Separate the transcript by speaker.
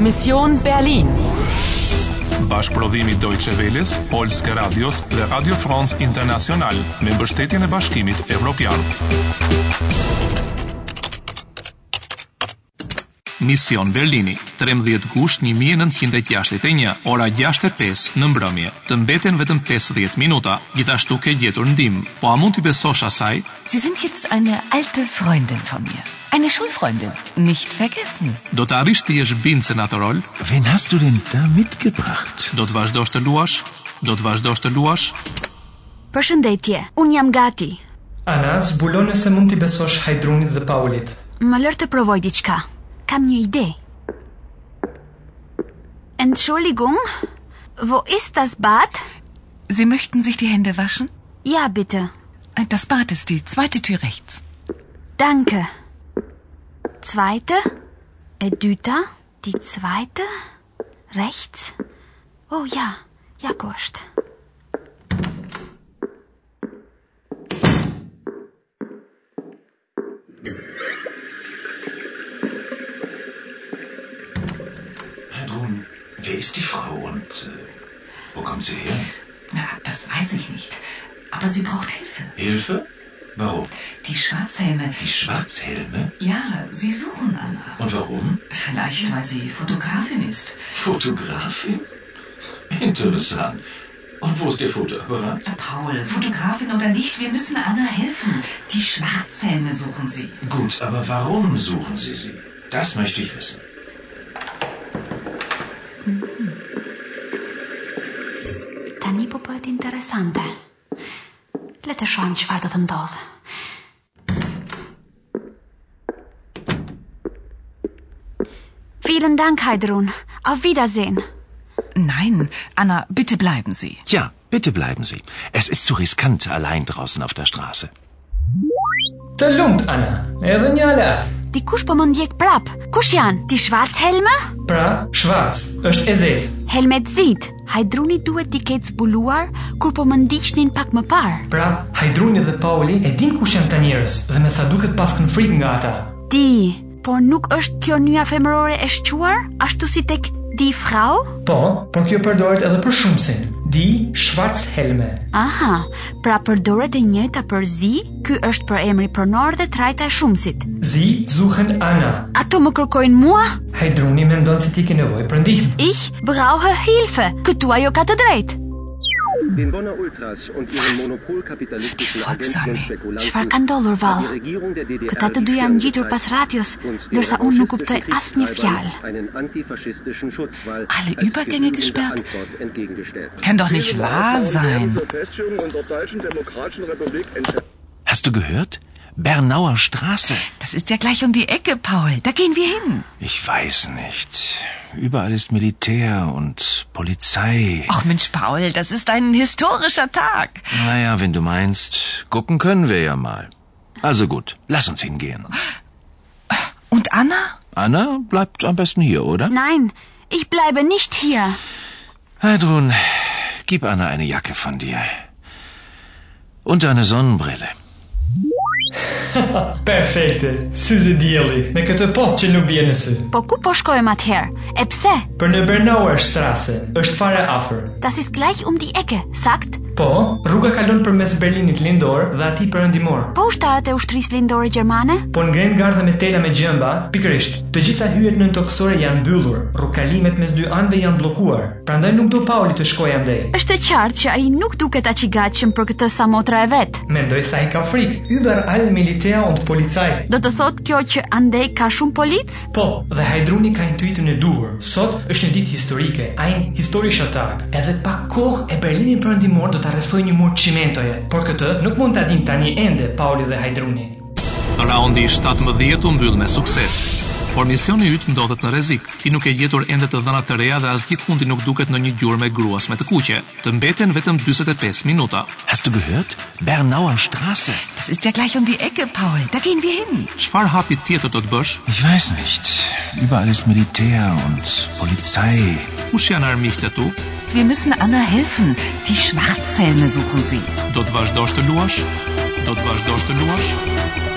Speaker 1: Mission Berlin.
Speaker 2: Bashkëprodhimi Deutsche Welles, Polske Radios dhe Radio France International me mbështetjen e Bashkimit Evropian. Mision Berlini, 13 gusht 1961, ora 6:05 në mbrëmje. Të mbeten vetëm 15 minuta, gjithashtu ke gjetur ndihmë. Po a mund t'i besosh asaj?
Speaker 1: Sie sind jetzt eine alte Freundin von mir. Eine Schulfreundin. Nicht vergessen.
Speaker 2: Do të arrish të jesh bindëse në atë rol?
Speaker 3: Wen hast du denn da mitgebracht?
Speaker 2: Do të vazhdosh të luash? Do të vazhdosh të luash?
Speaker 4: Përshëndetje, unë jam gati.
Speaker 5: Ana, zbulon nëse mund t'i besosh Hajdrunit dhe Paulit.
Speaker 4: Më lër të provoj diçka. Kam një ide. Entschuldigung, wo ist das Bad?
Speaker 6: Sie möchten sich die Hände waschen?
Speaker 4: Ja, bitte.
Speaker 6: Das Bad ist die zweite Tür rechts.
Speaker 4: Danke. Zweite? E dyta? Die zweite? Rechts? Oh ja, ja gosht.
Speaker 3: Heidrun, wer ist die Frau und äh, wo kommt sie her?
Speaker 6: Na, das weiß ich nicht. Aber sie braucht Hilfe.
Speaker 3: Hilfe? Warum?
Speaker 6: Die Schwarzhelme.
Speaker 3: Die Schwarzhelme?
Speaker 6: Ja, sie suchen Anna.
Speaker 3: Und warum?
Speaker 6: Vielleicht, weil sie Fotografin ist.
Speaker 3: Fotografin? Interessant. Und wo ist ihr Fotoapparat?
Speaker 6: Paul, Fotografin oder nicht, wir müssen Anna helfen. Die Schwarzhelme suchen sie.
Speaker 3: Gut, aber warum suchen Sie sie? Das möchte ich wissen.
Speaker 4: Tani po bëhet interesante. Le të shohim çfarë do të ndodhë. Vielen Dank, Heidrun. Auf Wiedersehen.
Speaker 6: Nein, Anna, bitte bleiben Sie.
Speaker 3: Ja, bitte bleiben Sie. Es ist zu riskant, allein draußen auf der Straße.
Speaker 5: Të lumt, Ana, edhe një alat.
Speaker 4: Dikush po më ndjek prap. Kush janë? Ti Schwarzhelme?
Speaker 5: Pra, Schwarz është e zezë.
Speaker 4: Helmet zit. Hajdruni duhet t'i ketë zbuluar kur po më ndiqnin pak më parë.
Speaker 5: Pra, Hajdruni dhe Pauli e din kush janë këta njerëz dhe me sa duket pas kanë frikë nga ata.
Speaker 4: Ti, por nuk është kjo nyja femërore e shquar, ashtu si tek di frau?
Speaker 5: Po, por kjo përdoret edhe për shumësin. Di Schwarzhelme.
Speaker 4: Aha, pra përdoret e njëjta për zi, ky është për emri pronor dhe trajta e shumësit.
Speaker 5: Zi suchen Anna.
Speaker 4: Ato më kërkojnë mua?
Speaker 5: Hajdruni mendon se ti ke nevojë për ndihmë.
Speaker 4: Ich brauche Hilfe. Këtu ajo ka të drejtë.
Speaker 7: Den Bonner Ultras und ihren monopolkapitalistischen
Speaker 6: Volksarmee.
Speaker 7: Agenten und Spekulanten
Speaker 4: Çfarë ka ndodhur
Speaker 7: hat die
Speaker 4: vallë?
Speaker 7: Regierung der DDR
Speaker 4: Këta të dy janë ngjitur pas radios, ndërsa unë nuk kuptoj asnjë fjalë.
Speaker 7: Einen antifaschistischen Schutzwall
Speaker 6: Alle
Speaker 7: als
Speaker 6: Übergänge
Speaker 7: genügende
Speaker 6: gesperrt?
Speaker 7: Antwort entgegengestellt.
Speaker 6: Kann doch nicht wahr sein.
Speaker 3: Hast du gehört? Bernauer Straße.
Speaker 6: Das ist ja gleich um die Ecke, Paul. Da gehen wir hin.
Speaker 3: Ich weiß nicht. Überall ist Militär und Polizei.
Speaker 6: Ach Mensch, Paul, das ist ein historischer Tag.
Speaker 3: Naja, wenn du meinst, gucken können wir ja mal. Also gut, lass uns hingehen.
Speaker 6: Und Anna?
Speaker 3: Anna bleibt am besten hier, oder?
Speaker 4: Nein, ich bleibe nicht hier.
Speaker 3: Heidrun, gib Anna eine Jacke von dir. Und eine Sonnenbrille.
Speaker 5: Perfekte, syze dielli. Me këtë pot që nuk bie në sy.
Speaker 4: Po ku po shkojmë atëherë? E pse?
Speaker 5: Për në Bernauer Strasse është fare afër.
Speaker 4: Das ist gleich um die Ecke, sakt?
Speaker 5: Po, rruga kalon përmes Berlinit lindor dhe atij perëndimor.
Speaker 4: Po ushtarët e ushtrisë lindore gjermane?
Speaker 5: Po ngrenë gardha me tela me gjëmba, pikërisht. Të gjitha hyjet nën toksore janë mbyllur, rrugkalimet mes dy anëve janë bllokuar. Prandaj nuk do Pauli të shkojë andej.
Speaker 4: Është e qartë që ai nuk duket aq i gatshëm për këtë sa motra e vet.
Speaker 5: Mendoj se ai ka frikë. Über all Militär und Polizei.
Speaker 4: Do të thotë kjo që andej ka shumë polic?
Speaker 5: Po, dhe Hajdruni ka intuitën e duhur. Sot është një ditë historike, ein historischer Tag. Edhe pa kohë e Berlinit perëndimor do ta rrethojë një mur çimentoje, por këtë nuk mund ta din tani ende Pauli dhe Hajdruni.
Speaker 2: Raundi i 17 u mbyll me sukses. Por misioni yt ndodhet në rrezik. Ti nuk e gjetur ende të dhëna të reja dhe as gjithmonë ti nuk duket në një gjurmë gruas me të kuqe. Të mbeten vetëm 45 minuta.
Speaker 3: Hast du gehört? Bernauer Straße.
Speaker 6: Das ist ja gleich um die Ecke, Paul. Da gehen wir hin.
Speaker 2: Çfarë hapi tjetër do të bësh?
Speaker 3: Ich weiß nicht. Überall ist Militär und Polizei.
Speaker 2: Kush janë armiqtë tu?
Speaker 6: Wir müssen Anna helfen. Die Schwarzhelme suchen sie.
Speaker 2: Do të vazhdosh të luash? Do të vazhdosh të luash?